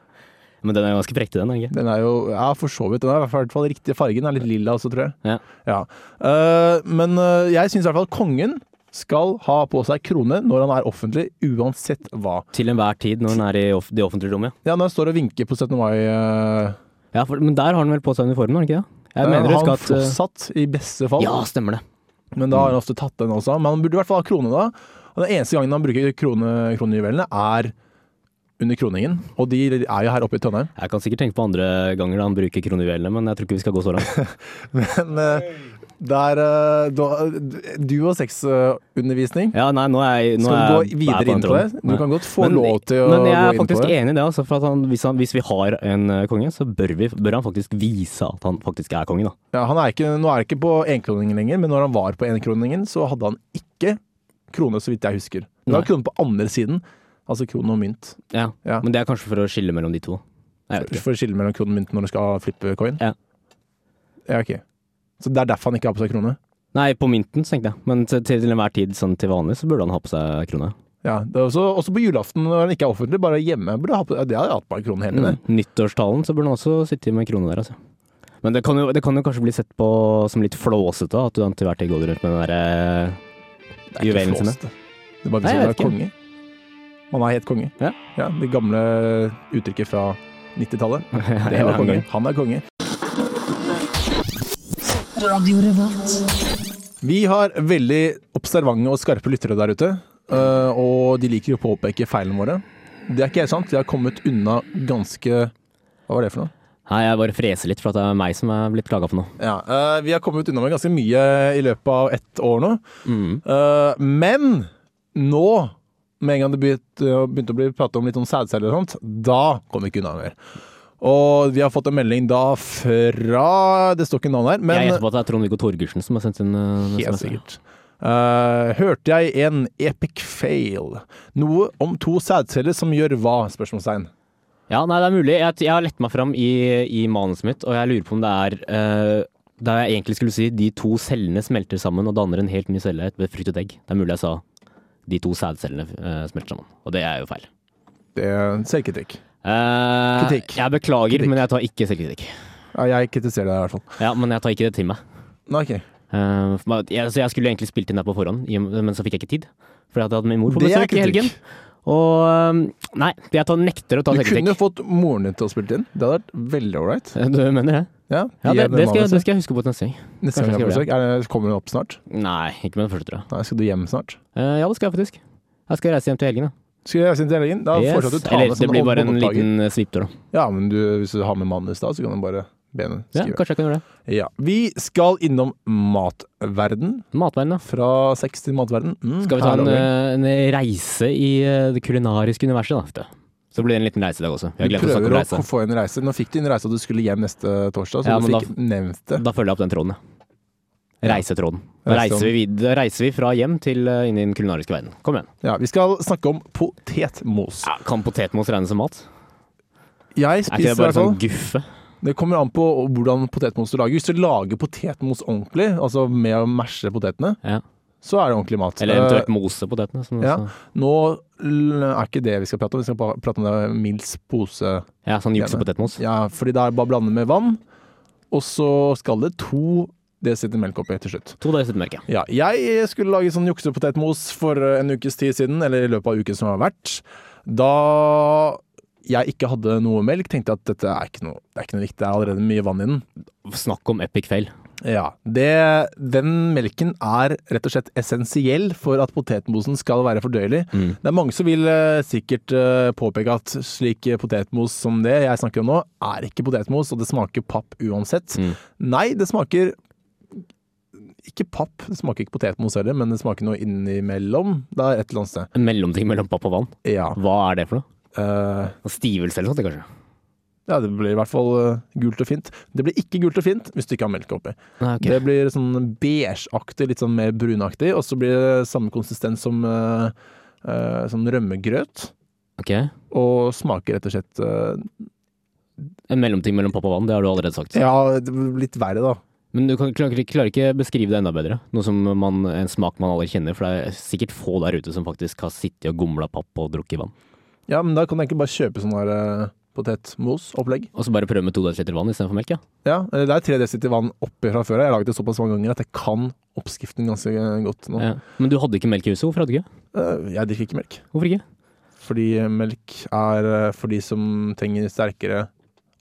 Speaker 3: Men den er ganske prektig, den. er den ikke?
Speaker 2: Den er jo, ja, for så vidt. Den er i hvert fall riktig fargen. Den er litt lilla også, tror jeg.
Speaker 3: Ja.
Speaker 2: Ja. Eh, men eh, jeg syns i hvert fall at kongen skal ha på seg krone når han er offentlig, uansett hva.
Speaker 3: Til enhver tid når den er i off det offentlige rommet, ja.
Speaker 2: Ja, når han står og vinker på 17. mai eh,
Speaker 3: ja for, men der har han vel på seg uniformen, har han ikke det? Jeg mener,
Speaker 2: eh,
Speaker 3: husk
Speaker 2: Han
Speaker 3: at eh,
Speaker 2: flosshatt, i beste fall.
Speaker 3: Ja, stemmer det.
Speaker 2: Men da har han ofte tatt den også. Men han burde i hvert fall ha krone da. Og den eneste gangen han bruker krone, kronejuvelene, er under kroningen. Og de er jo her oppe i Trondheim. (laughs)
Speaker 3: Jeg kan sikkert tenke på andre ganger da han bruker kronjuvelene, men jeg tror ikke vi skal gå så langt.
Speaker 2: Men eh, det er eh, da- duo og sexundervisning.
Speaker 3: (laughs) Ja, nei, nå er jeg nå
Speaker 2: Skal vi gå
Speaker 3: er jeg- er på
Speaker 2: videre
Speaker 3: den
Speaker 2: inn på det?
Speaker 3: tråden.
Speaker 2: Du
Speaker 3: Nei.
Speaker 2: kan godt få lov til å
Speaker 3: men
Speaker 2: gå
Speaker 3: jeg er
Speaker 2: inn på
Speaker 3: faktisk
Speaker 2: det.
Speaker 3: enig i det. Altså, for at han, hvis, han, hvis vi har en eh, konge, så bør, vi, bør han faktisk vise at han faktisk er konge. Da.
Speaker 2: Ja, han er ikke, nå er han ikke på enkroningen lenger, men når han var på enkroningen, så hadde han ikke krone, så vidt jeg husker. Det var
Speaker 3: Nei.
Speaker 2: krone på andre siden, altså krone og mynt.
Speaker 3: Ja.
Speaker 2: Ja.
Speaker 3: Men det er kanskje for å skille mellom de to. Jeg vet ikke.
Speaker 2: For å skille mellom krone og mynt når du skal flippe coin.
Speaker 3: Ja.
Speaker 2: Ja, ok. Så det er derfor han ikke har på seg krone?
Speaker 3: Nei, på mynten, så tenkte jeg. Men til, til enhver tid, sånn til vanlig, så burde han ha på seg krone.
Speaker 2: Ja, det er også, også på julaften når han ikke er offentlig, bare hjemme. Burde ha på, ja, det har jeg hatt på en krone hele
Speaker 3: Mm.
Speaker 2: tiden.
Speaker 3: Nyttårstalen så burde han også sitte med krone der, altså. Men det kan, jo, det kan jo kanskje bli sett på som litt flåsete, da, at du til hver tid går rundt med den eh, derre
Speaker 2: Det er
Speaker 3: Juvelen
Speaker 2: ikke
Speaker 3: sine.
Speaker 2: flåst. det. Det er bare
Speaker 3: Nei,
Speaker 2: hvis
Speaker 3: jeg
Speaker 2: man er
Speaker 3: vet ikke.
Speaker 2: konge. Man er helt konge.
Speaker 3: Ja.
Speaker 2: det gamle uttrykket fra 90-tallet. Det
Speaker 3: (laughs) en
Speaker 2: var konge.
Speaker 3: gang.
Speaker 2: Han er konge. Vi har veldig observante og skarpe lyttere der ute. eh, og de liker jo å påpeke feilene våre. Det er ikke helt sant. De har kommet unna ganske Hva var det for noe?
Speaker 3: Nei, jeg bare freser litt, for at det er meg som er blitt klaga på nå.
Speaker 2: Ja, eh, Vi har kommet unna med ganske mye i løpet av ett år nå.
Speaker 3: Mm.
Speaker 2: Eh, men nå, med en gang det begynte, eh, begynte å bli pratet om litt om sædceller og sånt, da kom vi ikke unna mer. Og vi har fått en melding da fra Det står ikke navn her, men
Speaker 3: jeg gjetter på at det er Trond-Viggo Torgersen som har sendt inn uh,
Speaker 2: Helt sikkert. Eh, hørte jeg en epic fail? Noe om to sædceller som gjør hva? Spørsmålstegn.
Speaker 3: Ja, nei, det er mulig. Jeg, jeg har lett meg fram i, i manuset mitt, og jeg lurer på om det er eh, Da jeg egentlig skulle si de to cellene smelter sammen og danner en helt ny celle ved frukt og egg. Det er mulig jeg sa de to sædcellene eh, smelter sammen, og det er jo feil.
Speaker 2: Det er Selvkritikk.
Speaker 3: Eh,
Speaker 2: Kritikk.
Speaker 3: Jeg beklager,
Speaker 2: Kritikk.
Speaker 3: men jeg tar ikke selvkritikk.
Speaker 2: Ja, jeg kritiserer deg i hvert fall.
Speaker 3: Ja, men jeg tar ikke det til meg.
Speaker 2: Nei, ok.
Speaker 3: Eh, for meg- jeg, så jeg skulle egentlig spilt inn det på forhånd, i- men så fikk jeg ikke tid. Fordi at jeg hadde min mor på
Speaker 2: Det er
Speaker 3: besøk i
Speaker 2: kritikk.
Speaker 3: helgen. Og eh, Nei, jeg tar, nekter å ta
Speaker 2: Du kunne
Speaker 3: selvkritikk.
Speaker 2: fått moren din til å spille det inn. Det hadde vært veldig ålreit.
Speaker 3: (laughs) Du mener det?
Speaker 2: Ja,
Speaker 3: Ja,
Speaker 2: gi
Speaker 3: det,
Speaker 2: henne
Speaker 3: det, skal, jeg-
Speaker 2: manuset.
Speaker 3: det skal jeg huske på til neste gang.
Speaker 2: Neste gang
Speaker 3: Kanskje
Speaker 2: jeg er på
Speaker 3: jeg skal
Speaker 2: besøk. Er det- Kommer hun opp snart?
Speaker 3: Nei, ikke med den første, tror jeg.
Speaker 2: Nei, Skal du hjem snart?
Speaker 3: Eh, ja, det skal jeg faktisk. Jeg skal reise hjem til helgen. Da,
Speaker 2: Skal jeg reise inn til helgen? Da
Speaker 3: Yes.
Speaker 2: foreslår jeg at du tar
Speaker 3: Eller
Speaker 2: med
Speaker 3: det
Speaker 2: sånn
Speaker 3: blir bare en
Speaker 2: båndopptaker.
Speaker 3: liten eh, svipptur, da.
Speaker 2: Ja, men du, hvis du har med manus da, så kan du bare be henne
Speaker 3: Ja,
Speaker 2: skrive.
Speaker 3: kanskje jeg kan gjøre det.
Speaker 2: Ja, Vi skal innom matverden.
Speaker 3: Matveien, da.
Speaker 2: Fra sex til matverden. Mm,
Speaker 3: Skal vi ta
Speaker 2: her er
Speaker 3: en,
Speaker 2: det.
Speaker 3: eh, en reise i eh, det kulinariske universet, da? vet du. Så blir det en liten reise i dag også. Jeg
Speaker 2: Du
Speaker 3: glemte å snakke om
Speaker 2: prøver
Speaker 3: reise.
Speaker 2: å få en reise. Nå fikk du en reise og du skulle hjem neste torsdag, så
Speaker 3: Ja,
Speaker 2: du
Speaker 3: men da-
Speaker 2: fikk nevnt det.
Speaker 3: Da følger jeg opp den tråden, ja. Reisetråden. Da
Speaker 2: Reisetråden.
Speaker 3: reiser, vi vid da reiser vi fra hjem til eh, inn i den kulinariske verden. Kom igjen.
Speaker 2: Ja, vi skal snakke om potetmos.
Speaker 3: Ja, kan potetmos regnes som mat?
Speaker 2: Jeg
Speaker 3: Er ikke
Speaker 2: spiser
Speaker 3: det
Speaker 2: i
Speaker 3: bare
Speaker 2: hvert fall
Speaker 3: sånn guffe?
Speaker 2: Det kommer an på hvordan potetmos du lager. Hvis du lager potetmos ordentlig, altså med å mashe potetene,
Speaker 3: Ja.
Speaker 2: så er det ordentlig mat.
Speaker 3: Eller eventuelt mose potetene. Sånn,
Speaker 2: Eh, ja.
Speaker 3: så-
Speaker 2: Nå l- er ikke det vi skal prate om, vi skal pa- prate om det Mils pose.
Speaker 3: ja, sånn juksepotetmos.
Speaker 2: Ja, fordi det er bare å blande med vann, og så skal det to dl melk oppi til slutt.
Speaker 3: To dager i mørke.
Speaker 2: Ja, jeg skulle lage sånn juksepotetmos for en ukes tid siden, eller i løpet av uken som har vært. Da jeg ikke hadde noe melk, tenkte jeg at dette er ikke noe, det er ikke noe riktig, det er allerede mye vann i den.
Speaker 3: Snakk om epic fail.
Speaker 2: Ja, det, Den melken er rett og slett essensiell for at potetmosen skal være fordøyelig.
Speaker 3: Mm.
Speaker 2: Det er mange som vil eh, sikkert eh, påpeke at slik potetmos som det jeg snakker om nå, er ikke potetmos, og det smaker papp uansett. Nei, det smaker ikke papp, det smaker ikke potetmos heller, men det smaker noe innimellom. Det er et eller annet sted.
Speaker 3: En mellomting mellom papp og vann.
Speaker 2: Ja.
Speaker 3: Hva er det for noe?
Speaker 2: eh,
Speaker 3: Noe Stivelse eller noe sånt, kanskje?
Speaker 2: ja, det blir i hvert fall eh, gult og fint. Det blir ikke gult og fint hvis du ikke har melk oppi.
Speaker 3: Nei,
Speaker 2: Det blir sånn beigeaktig, litt sånn mer brunaktig, og så blir det samme konsistens som, eh, eh, som rømmegrøt. Og smaker rett og slett eh,
Speaker 3: En mellomting mellom papp og vann, det har du allerede sagt.
Speaker 2: Ja, det blir litt verre, da.
Speaker 3: Men du kan, klarer, ikke- klarer ikke beskrive det enda bedre. Noe som man, en smak man alle kjenner, for det er sikkert få der ute som faktisk har sittet og gomla papp og drukket vann.
Speaker 2: Ja, men da kan du egentlig bare kjøpe sånn her eh, potetmos-opplegg.
Speaker 3: Og så bare prøve med to desiliter vann istedenfor melk, ja.
Speaker 2: Ja, eh, Det er tre desiliter vann oppi fra før. Jeg har laget det såpass mange ganger at jeg kan oppskriften ganske eh, godt nå.
Speaker 3: ja. Men du hadde ikke melk i huset, hvorfor hadde du ikke?
Speaker 2: Eh, Jeg drikker ikke melk,
Speaker 3: Hvorfor ikke?
Speaker 2: fordi eh, melk er eh, for de som trenger sterkere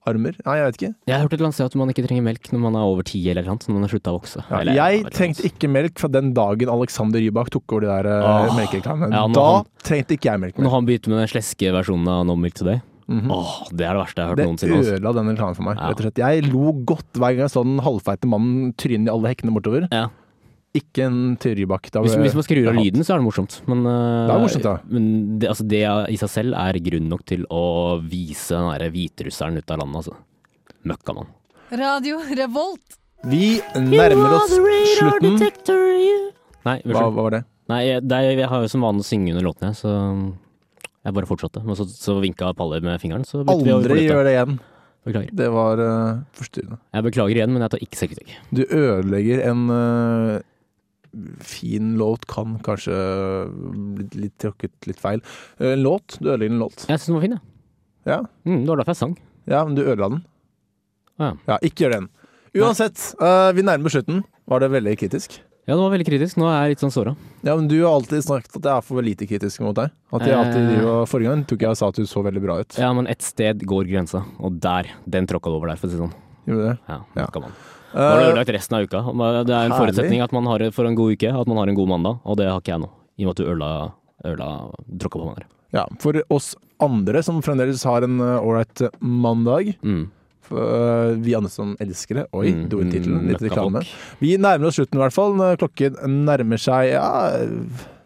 Speaker 2: armer. Nei, jeg vet ikke.
Speaker 3: Jeg har hørt et eller annet sted at man ikke trenger melk når man er over ti eller noe, når man har slutta å vokse.
Speaker 2: Ja,
Speaker 3: Eller-
Speaker 2: jeg
Speaker 3: vet
Speaker 2: trengte ikke melk fra den dagen Alexander Rybak tok over de der
Speaker 3: Åh.
Speaker 2: oh. melkereklamene.
Speaker 3: Ja, nå
Speaker 2: da
Speaker 3: han-
Speaker 2: trengte ikke jeg melk.
Speaker 3: Når han begynte med den sleske versjonen av No Milk Today,
Speaker 2: Mhm.
Speaker 3: åh, det er det verste jeg har hørt
Speaker 2: Det
Speaker 3: noensinne. altså.
Speaker 2: ødela den reklamen for meg.
Speaker 3: Ja.
Speaker 2: rett og slett. Jeg lo godt hver gang jeg så den halvfeite mannen tryne i alle hekkene bortover.
Speaker 3: Ja.
Speaker 2: Ikke en til Rybak. Da
Speaker 3: Hvis,
Speaker 2: ble-
Speaker 3: hvis man skrur av
Speaker 2: det er
Speaker 3: lyden, så er det morsomt. Men, eh,
Speaker 2: Det er morsomt, da.
Speaker 3: men det, altså, det i seg selv er grunn nok til å vise den derre hviterusseren ut av landet, altså. Møkkamann.
Speaker 7: Radio Revolt.
Speaker 2: Vi nærmer oss slutten.
Speaker 3: Nei,
Speaker 2: Hva,
Speaker 3: unnskyld.
Speaker 2: hva var det?
Speaker 3: Nei, jeg, det er, jeg har jo som vane å synge under låtene, så jeg bare fortsatte. Men så, så vinka Palle med fingeren, så bytte vi over på
Speaker 2: Aldri
Speaker 3: lufta.
Speaker 2: gjør det igjen.
Speaker 3: Beklager.
Speaker 2: Det var eh, forstyrrende.
Speaker 3: Jeg beklager igjen, men jeg tar ikke selvkritikk.
Speaker 2: Du ødelegger en eh, fin låt, kan kanskje bli litt tråkket litt feil. Eh, En låt? Du ødelegger en låt.
Speaker 3: Jeg syns den var fin, jeg.
Speaker 2: Ja.
Speaker 3: Mm, det var derfor jeg sang.
Speaker 2: Ja, men du ødela den.
Speaker 3: Ja.
Speaker 2: ikke gjør den. Uansett, eh, vi nærmer slutten. Var det veldig kritisk?
Speaker 3: Ja, det var veldig kritisk. Nå er jeg litt sånn såra.
Speaker 2: Ja, men Du har alltid snakket at jeg er for lite kritisk mot deg. At jeg alltid
Speaker 3: Eh.
Speaker 2: driver, Forrige gang tror ikke jeg sa at du så veldig bra ut.
Speaker 3: Ja, men ett sted går grensa, og der. Den tråkka du over der, for å si det sånn.
Speaker 2: Gjorde du det?
Speaker 3: Ja,
Speaker 2: Ja.
Speaker 3: møkkamann. Nå har du
Speaker 2: Eh,
Speaker 3: ødelagt resten av uka. eh, Det er en
Speaker 2: Herlig.
Speaker 3: forutsetning at man har, for en god uke, at man har en god mandag, og det har ikke jeg nå. I og med at du ødela øla tråkka på hverandre.
Speaker 2: Eh, Ja, for oss andre som fremdeles har en eh, ålreit mandag
Speaker 3: Mm.
Speaker 2: for, eh, Vi andre som elsker det. Oi,
Speaker 3: Mm,
Speaker 2: do tittelen. Litt
Speaker 3: møkkafolk.
Speaker 2: reklame. Vi nærmer oss slutten i hvert fall. Når Klokken nærmer seg ja,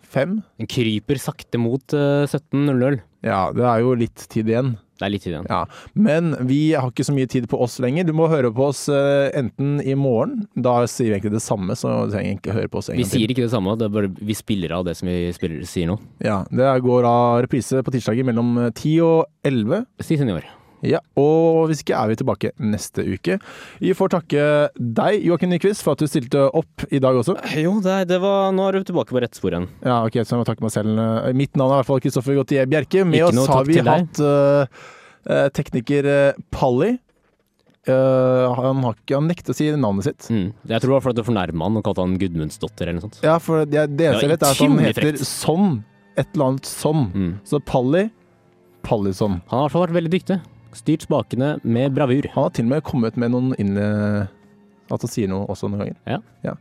Speaker 2: fem.
Speaker 3: Den kryper sakte mot eh, 17.00.
Speaker 2: Ja, det er jo litt tid igjen.
Speaker 3: Det er litt tid igjen.
Speaker 2: Ja, Men vi har ikke så mye tid på oss lenger. Du må høre på oss eh, enten i morgen. Da sier vi egentlig det samme, så du trenger ikke høre på oss en
Speaker 3: Vi
Speaker 2: gang til.
Speaker 3: sier ikke det samme, det er bare vi spiller av det som vi spiller, sier nå.
Speaker 2: Ja, Det går av reprise på tirsdager mellom eh, ti og elleve.
Speaker 3: Si senior.
Speaker 2: Ja, og hvis ikke er vi tilbake neste uke. Vi får takke deg, Joakim Nyquist, for at du stilte opp i dag også.
Speaker 3: Jo, det, det var Nå er du tilbake på rett spor igjen.
Speaker 2: Ja, ok, så jeg må takke meg selv. Eh, Mitt navn er i hvert fall Kristoffer Gautier Bjerke. Med
Speaker 3: Ikke
Speaker 2: oss
Speaker 3: noe
Speaker 2: har
Speaker 3: takk
Speaker 2: vi
Speaker 3: til deg.
Speaker 2: hatt eh, eh, tekniker eh, Palli. Eh, han, har ikke, han nekter å si navnet sitt.
Speaker 3: Mm. Jeg tror det var fordi du fornærma han og kalte han Gudmundsdotter eller noe sånt.
Speaker 2: Ja, for det, det eneste jeg vet, er at han
Speaker 3: utrolig
Speaker 2: heter
Speaker 3: frekt.
Speaker 2: Sånn. Et eller annet Sånn.
Speaker 3: Mm.
Speaker 2: Så Palli Pallison.
Speaker 3: Han har i hvert fall vært veldig dyktig. Styrt spakene med bravur.
Speaker 2: Han har til og med kommet med noen inn... eh, At han sier noe også noen ganger.
Speaker 3: Ja.